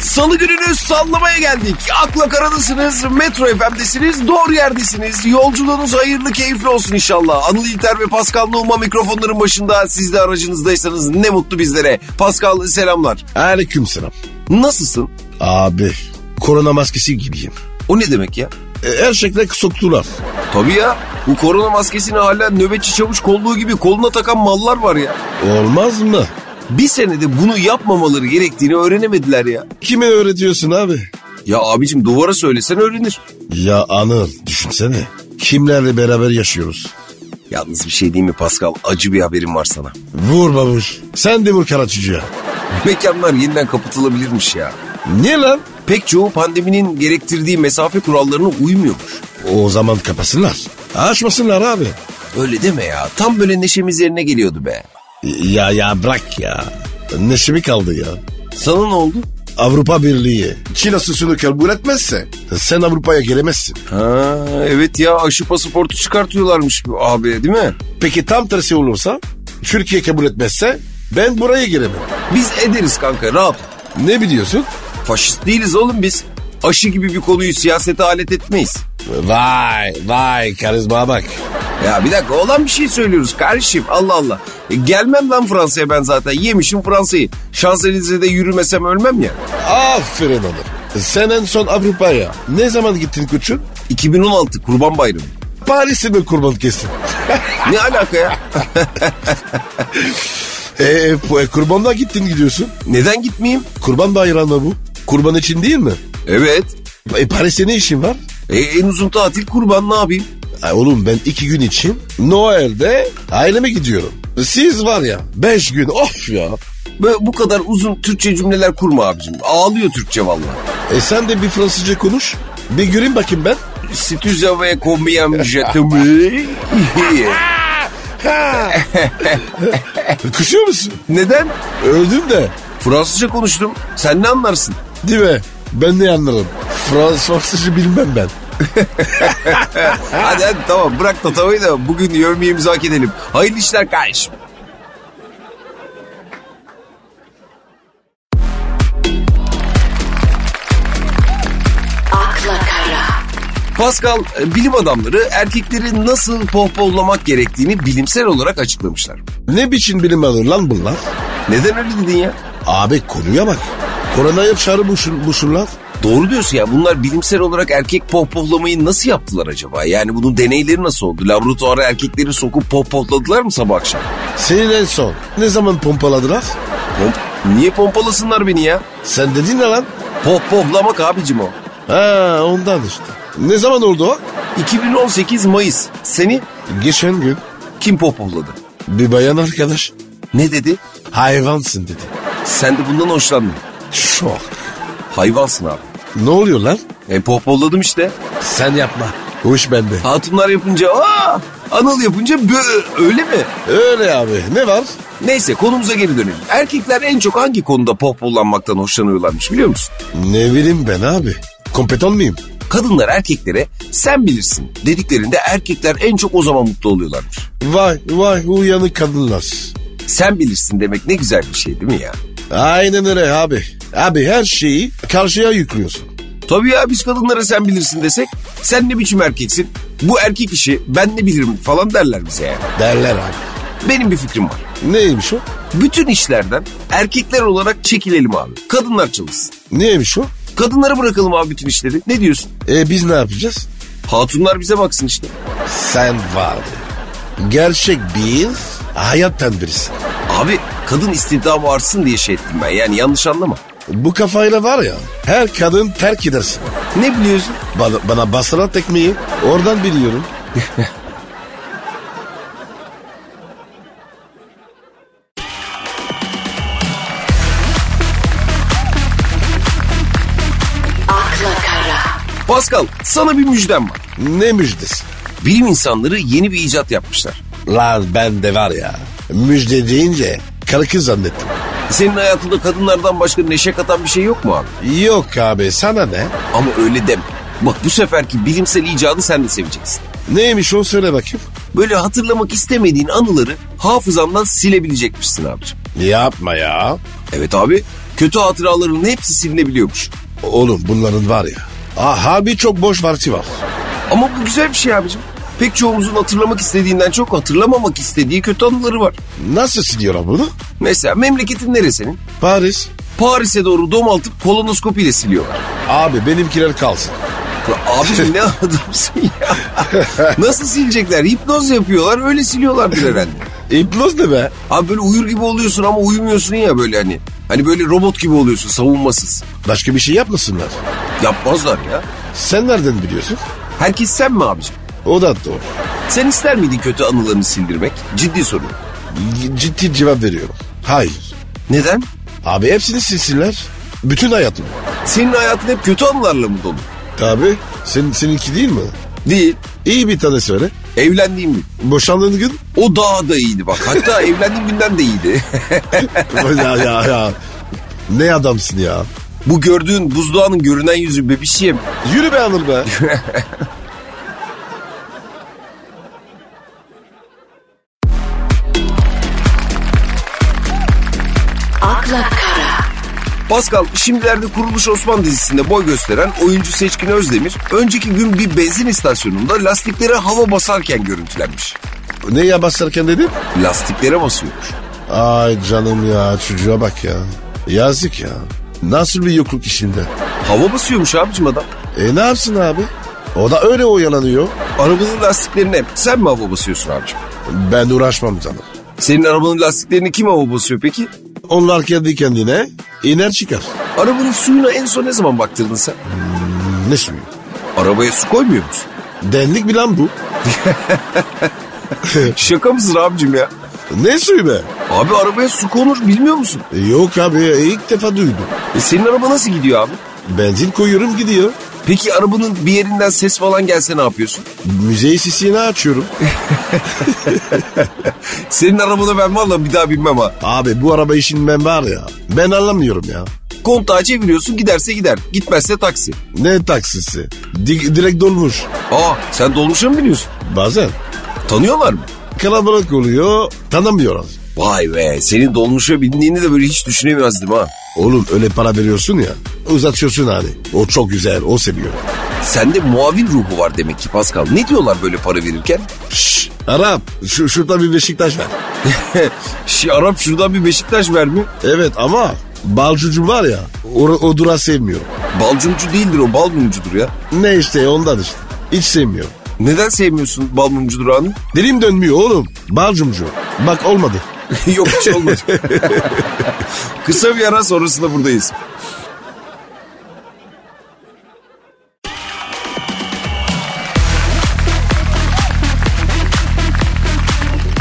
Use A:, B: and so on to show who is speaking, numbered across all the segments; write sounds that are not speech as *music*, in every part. A: Salı gününü sallamaya geldik. Akla karadasınız, Metro FM'desiniz, doğru yerdesiniz. Yolculuğunuz hayırlı, keyifli olsun inşallah. Anıl İlter ve Pascal Numa mikrofonların başında. Siz de aracınızdaysanız ne mutlu bizlere. Pascal selamlar.
B: Aleyküm selam.
A: Nasılsın?
B: Abi korona maskesi gibiyim.
A: O ne demek ya?
B: E, her şekilde soktular.
A: Tabii ya. Bu korona maskesini hala nöbetçi çavuş kolluğu gibi koluna takan mallar var ya.
B: Olmaz mı?
A: Bir senede bunu yapmamaları gerektiğini öğrenemediler ya.
B: Kime öğretiyorsun abi?
A: Ya abicim duvara söylesen öğrenir.
B: Ya Anıl düşünsene. Kimlerle beraber yaşıyoruz?
A: Yalnız bir şey değil mi Pascal? Acı bir haberim var sana.
B: Vur babuş. Sen de vur Karaçıcı'ya.
A: Mekanlar yeniden kapatılabilirmiş ya.
B: Niye lan?
A: Pek çoğu pandeminin gerektirdiği mesafe kurallarına uymuyormuş.
B: O zaman kapasınlar. Açmasınlar abi.
A: Öyle deme ya. Tam böyle neşemiz yerine geliyordu be.
B: Ya ya bırak ya. Neşemi kaldı ya.
A: Sana ne oldu?
B: Avrupa Birliği.
C: Çin asusunu kabul etmezse
B: Sen Avrupa'ya gelemezsin.
A: Ha, evet ya aşı pasaportu çıkartıyorlarmış bu abi değil mi?
B: Peki tam tersi olursa? Türkiye kabul etmezse ben buraya giremem.
A: Biz ederiz kanka rahat.
B: Ne biliyorsun?
A: Faşist değiliz oğlum biz. Aşı gibi bir konuyu siyasete alet etmeyiz.
B: Vay vay karizma bak.
A: Ya bir dakika olan bir şey söylüyoruz kardeşim Allah Allah. E, gelmem lan Fransa'ya ben zaten yemişim Fransa'yı. Şanzelize'de yürümesem ölmem ya.
B: Aferin Onur. Sen en son Avrupa'ya ne zaman gittin koçum?
A: 2016 Kurban Bayramı.
B: Paris'e mi kurban kestin?
A: Ne alaka ya?
B: E, e, bu- e, kurbanla gittin gidiyorsun.
A: Neden gitmeyeyim?
B: Kurban bayramı bu. Kurban için değil mi?
A: Evet.
B: E, Paris'te ne işin var?
A: E, en uzun tatil kurban ne yapayım?
B: Ay oğlum ben iki gün için Noel'de aileme gidiyorum. Siz var ya beş gün of ya.
A: Böyle bu kadar uzun Türkçe cümleler kurma abicim. Ağlıyor Türkçe vallahi.
B: E sen de bir Fransızca konuş. Bir göreyim bakayım ben.
A: Situza ve kombiyem *laughs* jetimi.
B: Kusuyor musun?
A: Neden?
B: Öldüm de.
A: Fransızca konuştum. Sen ne anlarsın?
B: Değil mi? Ben ne anlarım? Fransız, Fransızca bilmem ben.
A: Hadi hadi tamam bırak tatavayı da bugün yövmeyimizi hak edelim. Hayırlı işler kardeşim.
D: akla kara,
A: Pascal e, bilim adamları erkekleri nasıl pohpollamak gerektiğini bilimsel olarak açıklamışlar.
B: Ne biçim bilim alır lan bunlar?
A: Neden öyle dedin ya?
B: Abi konuya bak. Korona yapşarı buşun, buşunlar.
A: Doğru diyorsun ya bunlar bilimsel olarak erkek pohpohlamayı nasıl yaptılar acaba? Yani bunun deneyleri nasıl oldu? Laboratuvara erkekleri sokup pohpohladılar mı sabah akşam?
B: Senin en son ne zaman pompaladılar?
A: Pomp- Niye pompalasınlar beni ya?
B: Sen dedin ne lan?
A: Pohpohlamak abicim o.
B: Ha ondan işte. Ne zaman oldu o?
A: 2018 Mayıs. Seni
B: Geçen gün
A: kim pohpohladı?
B: bir bayan arkadaş
A: Ne dedi?
B: hayvansın dedi.
A: Sen de bundan hoşlandın.
B: Şok.
A: Hayvansın abi.
B: Ne oluyor lan?
A: E pohpohladım işte.
B: Sen yapma. O iş bende.
A: Hatunlar yapınca aa, Anıl yapınca bö öyle mi?
B: Öyle abi. Ne var?
A: Neyse konumuza geri dönelim. Erkekler en çok hangi konuda pohpollanmaktan hoşlanıyorlarmış biliyor musun?
B: Ne bileyim ben abi. Kompeton muyum?
A: Kadınlar erkeklere sen bilirsin dediklerinde erkekler en çok o zaman mutlu oluyorlarmış.
B: Vay vay uyanık kadınlar.
A: Sen bilirsin demek ne güzel bir şey değil mi ya?
B: Aynen öyle abi. Abi her şeyi karşıya yüklüyorsun.
A: Tabii ya biz kadınlara sen bilirsin desek sen ne biçim erkeksin? Bu erkek işi ben ne bilirim falan derler bize yani.
B: Derler abi.
A: Benim bir fikrim var.
B: Neymiş o?
A: Bütün işlerden erkekler olarak çekilelim abi. Kadınlar çalışsın.
B: Neymiş o?
A: Kadınlara bırakalım abi bütün işleri. Ne diyorsun?
B: E biz ne yapacağız?
A: Hatunlar bize baksın işte.
B: Sen vardı. Gerçek bir hayattan birisi.
A: Abi kadın istihdamı artsın diye şey ettim ben. Yani yanlış anlama.
B: Bu kafayla var ya her kadın terk edersin.
A: Ne biliyorsun?
B: Bana, bana basılan tekmeyi oradan biliyorum.
D: akla kara,
A: Pascal sana bir müjdem var.
B: Ne müjdesi?
A: Bilim insanları yeni bir icat yapmışlar.
B: Lan ben de var ya müjde deyince karı kız zannettim.
A: Senin hayatında kadınlardan başka neşe katan bir şey yok mu abi?
B: Yok abi sana ne?
A: Ama öyle deme. Bak bu seferki bilimsel icadı sen de seveceksin.
B: Neymiş o söyle bakayım.
A: böyle hatırlamak istemediğin anıları hafızamdan silebilecekmişsin abicim.
B: Yapma ya.
A: Evet abi kötü hatıraların hepsi silinebiliyormuş.
B: Oğlum bunların var ya. Aha bir çok boş vakti var.
A: Ama bu güzel bir şey abicim. Pek çoğumuzun hatırlamak istediğinden çok hatırlamamak istediği kötü anıları var.
B: Nasıl siliyorlar bunu?
A: Mesela memleketin neresinin?
B: Paris.
A: Paris'e doğru domaltıp kolonoskopiyle siliyorlar.
B: Abi benimkiler kalsın.
A: Abi ne adamsın ya. Nasıl silecekler? Hipnoz yapıyorlar öyle siliyorlardır herhalde.
B: İpnoz E, ne be?
A: Abi böyle uyur gibi oluyorsun ama uyumuyorsun ya böyle hani. Hani böyle robot gibi oluyorsun savunmasız.
B: Başka bir şey yapmasınlar.
A: Yapmazlar ya.
B: Sen nereden biliyorsun?
A: Herkes sen mi abicim?
B: O da doğru.
A: Sen ister miydin kötü anılarını sildirmek? Ciddi soru.
B: C- Ciddi cevap veriyorum. Hayır.
A: Neden?
B: Abi hepsini silsinler. Bütün hayatım.
A: Senin hayatın hep kötü anılarla mı dolu?
B: Abi senin, seninki değil mi?
A: Değil.
B: İyi bir tane söyle.
A: Evlendiğim gün.
B: Boşandığın gün. *laughs*
A: O daha da iyiydi bak. Hatta evlendiğim günden de iyiydi. *laughs*
B: ya ya ya. Ne adamsın ya.
A: Bu gördüğün buzdağının görünen yüzü bebişim.
B: Yürü be Anıl be.
D: akla kara,
A: Pascal şimdilerde Kuruluş Osman dizisinde boy gösteren oyuncu Seçkin Özdemir önceki gün bir benzin istasyonunda lastiklere hava basarken görüntülenmiş.
B: ne ya basarken dedin?
A: Lastiklere basıyormuş.
B: Ay canım ya çocuğa bak ya. Yazık ya. Nasıl bir yokluk işinde?
A: Hava basıyormuş abicim adam.
B: E ne yapsın abi? O da öyle oyalanıyor.
A: Arabanın lastiklerine hep sen mi hava basıyorsun abicim?
B: Ben uğraşmam canım.
A: Senin arabanın lastiklerini kim hava basıyor peki?
B: Onlar kendi kendine iner çıkar.
A: Arabanın suyuna en son ne zaman baktırdın sen?
B: Ne suyu?
A: Arabaya su koymuyor musun?
B: Denlik bir lan bu.
A: Şaka mısın abicim ya?
B: Ne suyu be?
A: Abi arabaya su konur bilmiyor musun?
B: Yok abi ilk defa duydum.
A: E senin araba nasıl gidiyor abi?
B: Benzin koyuyorum gidiyor.
A: Peki arabanın bir yerinden ses falan gelse ne yapıyorsun?
B: Müzeyi sisini açıyorum.
A: Senin arabana ben valla bir daha binmem ha.
B: Abi bu araba işin ben var ya. Ben anlamıyorum ya.
A: Kontağı çeviriyorsun giderse gider. Gitmezse taksi.
B: Ne taksisi? Di- direkt dolmuş.
A: Aa sen dolmuşa mı biniyorsun?
B: Bazen
A: Tanıyorlar mı?
B: kalabalık oluyor tanımıyoruz.
A: Vay be senin dolmuşa bindiğini de böyle hiç düşünemezdim ha.
B: Oğlum öyle para veriyorsun ya uzatıyorsun hani. O çok güzel o seviyor.
A: Sende muavin ruhu var demek ki Pascal. Ne diyorlar böyle para verirken? *laughs*
B: Şşş Arap şu, şurada bir Beşiktaş ver.
A: Şi Arap şuradan bir Beşiktaş ver mi?
B: Evet ama balcucu var ya o, o durağı sevmiyor.
A: Balcumcu değildir o balmumcudur ya.
B: Ne işte ondan işte. Hiç sevmiyor.
A: Neden sevmiyorsun balmumcu durağını?
B: Dilim dönmüyor oğlum. Balcumcu. Bak olmadı.
A: *laughs* Yok hiç olmadı. *laughs* Kısa bir ara sonrasında buradayız.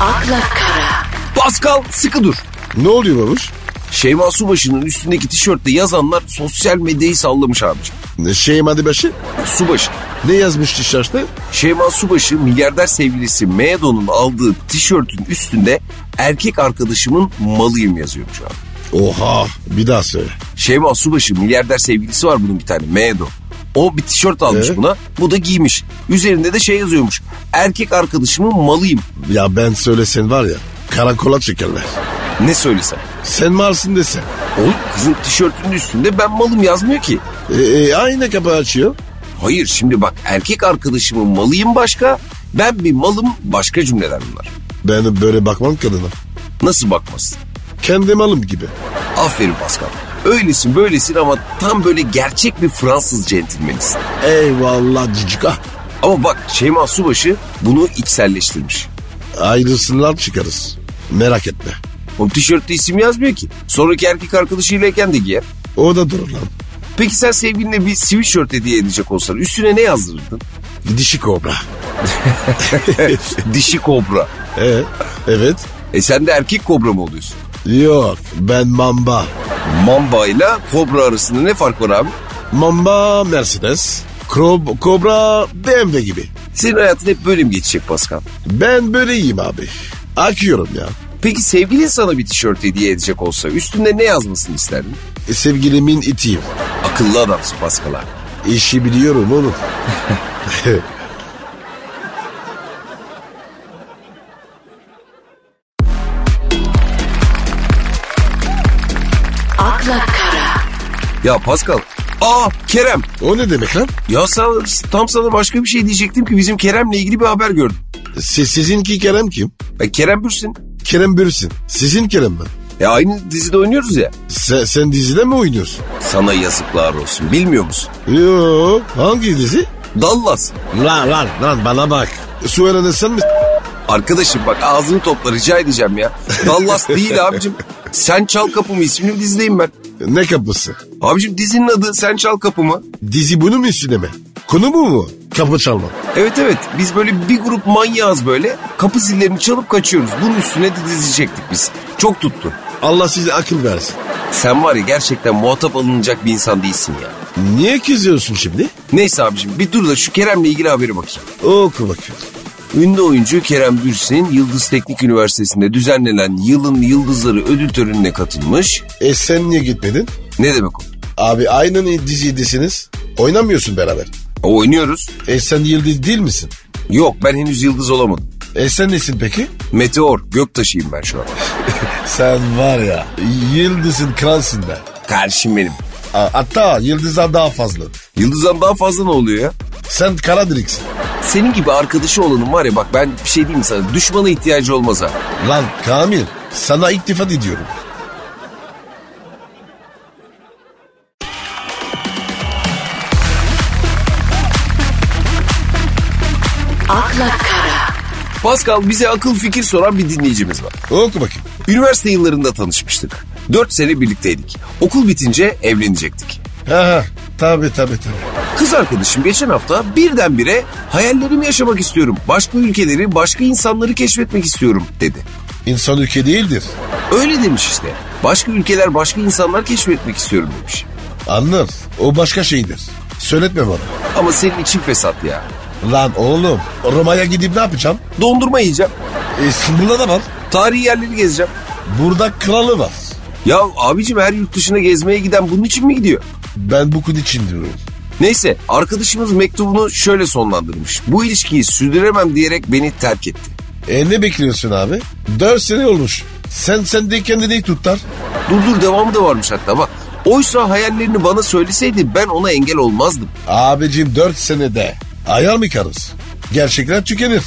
D: akla kara,
A: Pascal sıkı dur.
B: Ne oluyor babuş?
A: Şeyma Subaşı'nın üstündeki tişörtle yazanlar sosyal medyayı sallamış abicim.
B: Şeyim hadi başı.
A: Subaşı.
B: Ne yazmış tişörtte?
A: Şeyma Subaşı milyarder sevgilisi Medo'nun aldığı tişörtün üstünde erkek arkadaşımın malıyım yazıyormuş abi.
B: Oha bir daha söyle.
A: Şeyma Subaşı milyarder sevgilisi var bunun bir tane Medo. O bir tişört almış
B: Evet.
A: buna. Bu da giymiş. Üzerinde de şey yazıyormuş. Erkek arkadaşımın malıyım.
B: Ya ben söylesen var ya karakola çekerler.
A: Ne söylesem.
B: Sen malsın desen.
A: Oğlum kızın tişörtünün üstünde ben malım yazmıyor ki.
B: E, e, aynı kapı açıyor.
A: Hayır şimdi bak erkek arkadaşımın malıyım başka. Ben bir malım başka cümleler bunlar.
B: Ben böyle bakmam kadına.
A: Nasıl bakmasın?
B: Kendi malım gibi.
A: Aferin Pascal. Öylesin böylesin ama tam böyle gerçek bir Fransız centilmenisin.
B: Eyvallah ah. cicika.
A: Ama bak Şeyma Subaşı bunu içselleştirmiş.
B: Ayrısından çıkarız. Merak etme.
A: O tişörtte isim yazmıyor ki. Sonraki erkek arkadaşıylayken de giyer.
B: O da durur lan.
A: Peki sen sevgiline bir sweatshirt hediye edecek olsan üstüne ne yazdırırdın?
B: Dişi kobra.
A: Dişi kobra.
B: E, evet.
A: E sen de erkek kobra mı oluyorsun?
B: Yok ben mamba.
A: Mamba ile kobra arasında ne fark var abi?
B: Mamba Mercedes. Krob, kobra BMW gibi.
A: Senin hayatın hep böyle mi geçecek Pascal?
B: Ben böyle iyiyim abi. Akıyorum ya.
A: Peki sevgilin sana bir tişört hediye edecek olsa üstünde ne yazmasını isterdin?
B: E, sevgilimin itiyim.
A: Akıllı adamsın Pascal abi.
B: İşi biliyorum oğlum.
D: akla kara,
A: Ya Pascal. Aa Kerem.
B: O ne demek lan?
A: Ya sana, tam sana başka bir şey diyecektim ki bizim Kerem'le ilgili bir haber gördüm.
B: Siz, sizinki Kerem kim?
A: E, Kerem Bürsin.
B: Kerem Bürsin. Sizin Kerem mi?
A: E, aynı dizide oynuyoruz ya.
B: Sen, sen dizide mi oynuyorsun?
A: Sana yazıklar olsun bilmiyor musun?
B: Yo hangi dizi?
A: Dallas.
B: Lan lan lan bana bak. Sueren'e sen mi?
A: Arkadaşım bak ağzını topla rica edeceğim ya. Dallas değil abicim. Sen Çal Kapımı isimli bir dizideyim ben.
B: Ne kapısı?
A: Abicim dizinin adı Sen Çal Kapımı.
B: Dizi bunu mu üstüne mi? Konu mu mu? Kapı çalma.
A: Evet evet biz böyle bir grup manyağız böyle. Kapı zillerini çalıp kaçıyoruz. Bunun üstüne de dizecektik biz. Çok tuttu.
B: Allah size akıl versin.
A: Sen var ya gerçekten muhatap alınacak bir insan değilsin ya.
B: Niye kızıyorsun şimdi?
A: Neyse abicim bir dur da şu Kerem'le ilgili haberi bakayım.
B: Oku bakayım.
A: Ünlü oyuncu Kerem Bürsin, Yıldız Teknik Üniversitesi'nde düzenlenen Yılın Yıldızları ödül törenine katılmış.
B: E sen niye gitmedin?
A: Ne demek o?
B: Abi aynı dizidesiniz. Oynamıyorsun beraber.
A: O oynuyoruz.
B: E sen yıldız değil misin?
A: Yok ben henüz yıldız olamadım.
B: E sen nesin peki?
A: Meteor, göktaşıyım ben şu an.
B: Sen var ya yıldızın kralsın be.
A: Karşım benim.
B: A- Hatta yıldızdan daha fazla.
A: Yıldızdan daha fazla ne oluyor ya?
B: Sen Karadirik'sin.
A: Senin gibi arkadaşı olanım var ya bak ben bir şey diyeyim mi sana. Düşmana ihtiyacı olmaz ha.
B: Lan Kamil sana iktifat ediyorum.
D: akla kara,
A: Pascal bize akıl fikir soran bir dinleyicimiz var.
B: Oku bakayım.
A: Üniversite yıllarında tanışmıştık. Dört sene birlikteydik. Okul bitince evlenecektik.
B: Ha, tabi tabi tabi.
A: Kız arkadaşım geçen hafta birdenbire hayallerimi yaşamak istiyorum. Başka ülkeleri, başka insanları keşfetmek istiyorum dedi.
B: İnsan ülke değildir.
A: Öyle demiş işte. Başka ülkeler, başka insanlar keşfetmek istiyorum demiş.
B: Anlar. O başka şeydir. Söyletme bana.
A: Ama senin için fesat ya.
B: Lan oğlum Roma'ya gidip ne yapacağım?
A: Dondurma yiyeceğim.
B: E İstanbul'da da var.
A: Tarihi yerleri gezeceğim.
B: Burada kralı var.
A: Ya abicim her yurt dışına gezmeye giden bunun için mi gidiyor?
B: Ben bu kul için diyorum.
A: Neyse arkadaşımız mektubunu şöyle sonlandırmış. Bu ilişkiyi sürdüremem diyerek beni terk etti.
B: E ne bekliyorsun abi? Dört sene olmuş. Sen sen de kendini tutar.
A: Dur dur devamı da varmış hatta bak. Oysa hayallerini bana söyleseydi ben ona engel olmazdım.
B: Abicim dört senede ayar mı karız? Gerçekler tükenir.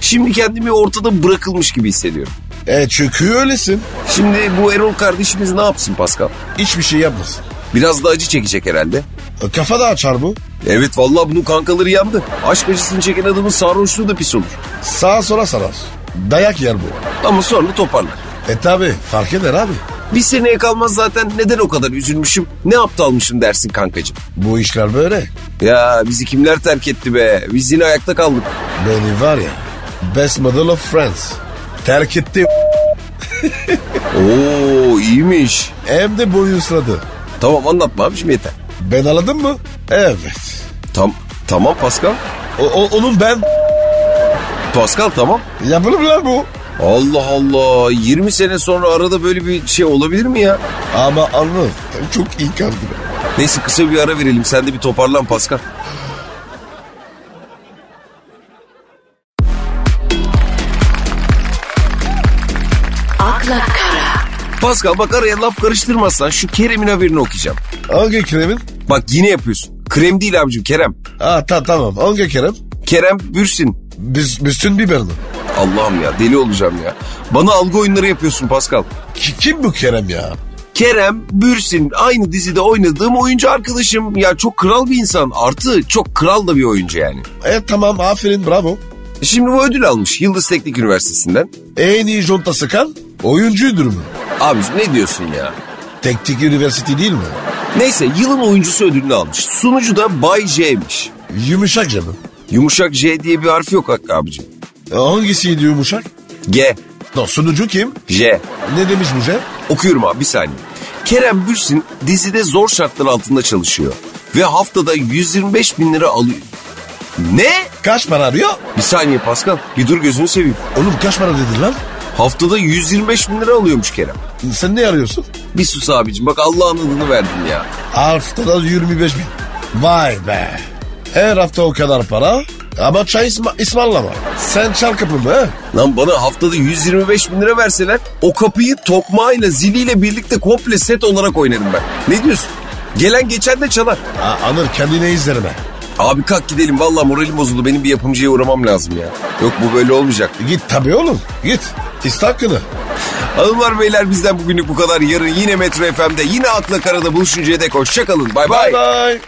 A: Şimdi kendimi ortada bırakılmış gibi hissediyorum.
B: E çünkü öylesin.
A: Şimdi bu Erol kardeşimiz ne yapsın Pascal?
B: Hiçbir şey yapmasın.
A: Biraz da acı çekecek herhalde.
B: E, Kafa da açar bu.
A: Evet vallahi bunun kankaları yandı. Aşk acısını çeken adamın sarhoşluğu da pis olur.
B: Sağa sola sarar. Dayak yer bu.
A: Ama sonra toparlar.
B: E tabi fark eder abi.
A: Bir seneye kalmaz zaten neden o kadar üzülmüşüm, ne aptalmışım dersin kankacığım.
B: Bu işler böyle.
A: Ya bizi kimler terk etti be? Biz yine ayakta kaldık.
B: Beni var ya best model of France. Terk etti
A: Oo iyiymiş.
B: hem de boyunsladı.
A: Tamam anlatma abiciğim yeter.
B: Ben aladım mı? Evet.
A: Tam, tamam Pascal.
B: O, o- onun ben
A: Pascal tamam.
B: yapılır mı lan bu?
A: Allah Allah 20 sene sonra arada böyle bir şey olabilir mi ya?
B: Ama anladım. Çok iyi kaldı. be.
A: Neyse kısa bir ara verelim sen de bir toparlan Pascal.
D: akla kara,
A: Pascal bak araya laf karıştırmazsan şu Kerem'in haberini okuyacağım.
B: Hangi kremin?
A: Bak yine yapıyorsun. Krem değil abicim Kerem.
B: Ha ta, tamam. Hangi kerem?
A: Kerem Bürsin.
B: Biz, bütün biber mi?
A: Allah'ım ya deli olacağım ya. Bana algı oyunları yapıyorsun Pascal.
B: Ki- kim bu kerem ya?
A: Kerem Bürsin aynı dizide oynadığım oyuncu arkadaşım. Ya çok kral bir insan artı çok kral da bir oyuncu yani.
B: E tamam aferin bravo.
A: Şimdi bu ödül almış Yıldız Teknik Üniversitesi'nden.
B: En iyi junta sıkan oyuncuydur mu?
A: Abicim ne diyorsun ya?
B: Teknik üniversite değil mi?
A: Neyse yılın oyuncusu ödülünü almış. Sunucu da Bay J'miş.
B: Yumuşak canım.
A: Yumuşak J diye bir harfi yok Hakkı abicim.
B: E, hangisiydi yumuşak?
A: G,
B: Da sunucu kim?
A: J.
B: Ne demiş bu şey?
A: Okuyorum abi bir saniye. Kerem Bürsin dizide zor şartlar altında çalışıyor. Ve haftada 125 bin lira alıyor. Ne?
B: Kaç para arıyor?
A: Bir saniye Pascal bir dur gözünü seveyim.
B: Oğlum kaç para dedin lan?
A: Haftada 125 bin lira alıyormuş Kerem.
B: Sen ne arıyorsun?
A: Bir sus abicim bak Allah'ın adını verdin ya.
B: Haftada 25 bin. Vay be. Her hafta o kadar para Ama çay isma ısmarlama. Sen çal kapımı ha.
A: Lan bana haftada 125 bin lira verseler o kapıyı tokmağıyla ziliyle birlikte komple set olarak oynarım ben. Ne diyorsun? Gelen geçen de çalar.
B: Ha, Anır kendine izlerime.
A: Abi kalk gidelim vallahi moralim bozuldu benim bir yapımcıya uğramam lazım ya. Yok bu böyle olmayacak.
B: Git tabii oğlum git. İste hakkını.
A: Hanımlar beyler bizden bugünlük bu kadar. Yarın yine Metro FM'de yine Akla Karada buluşuncaya dek hoşçakalın. Bay bay.
B: Bye bye.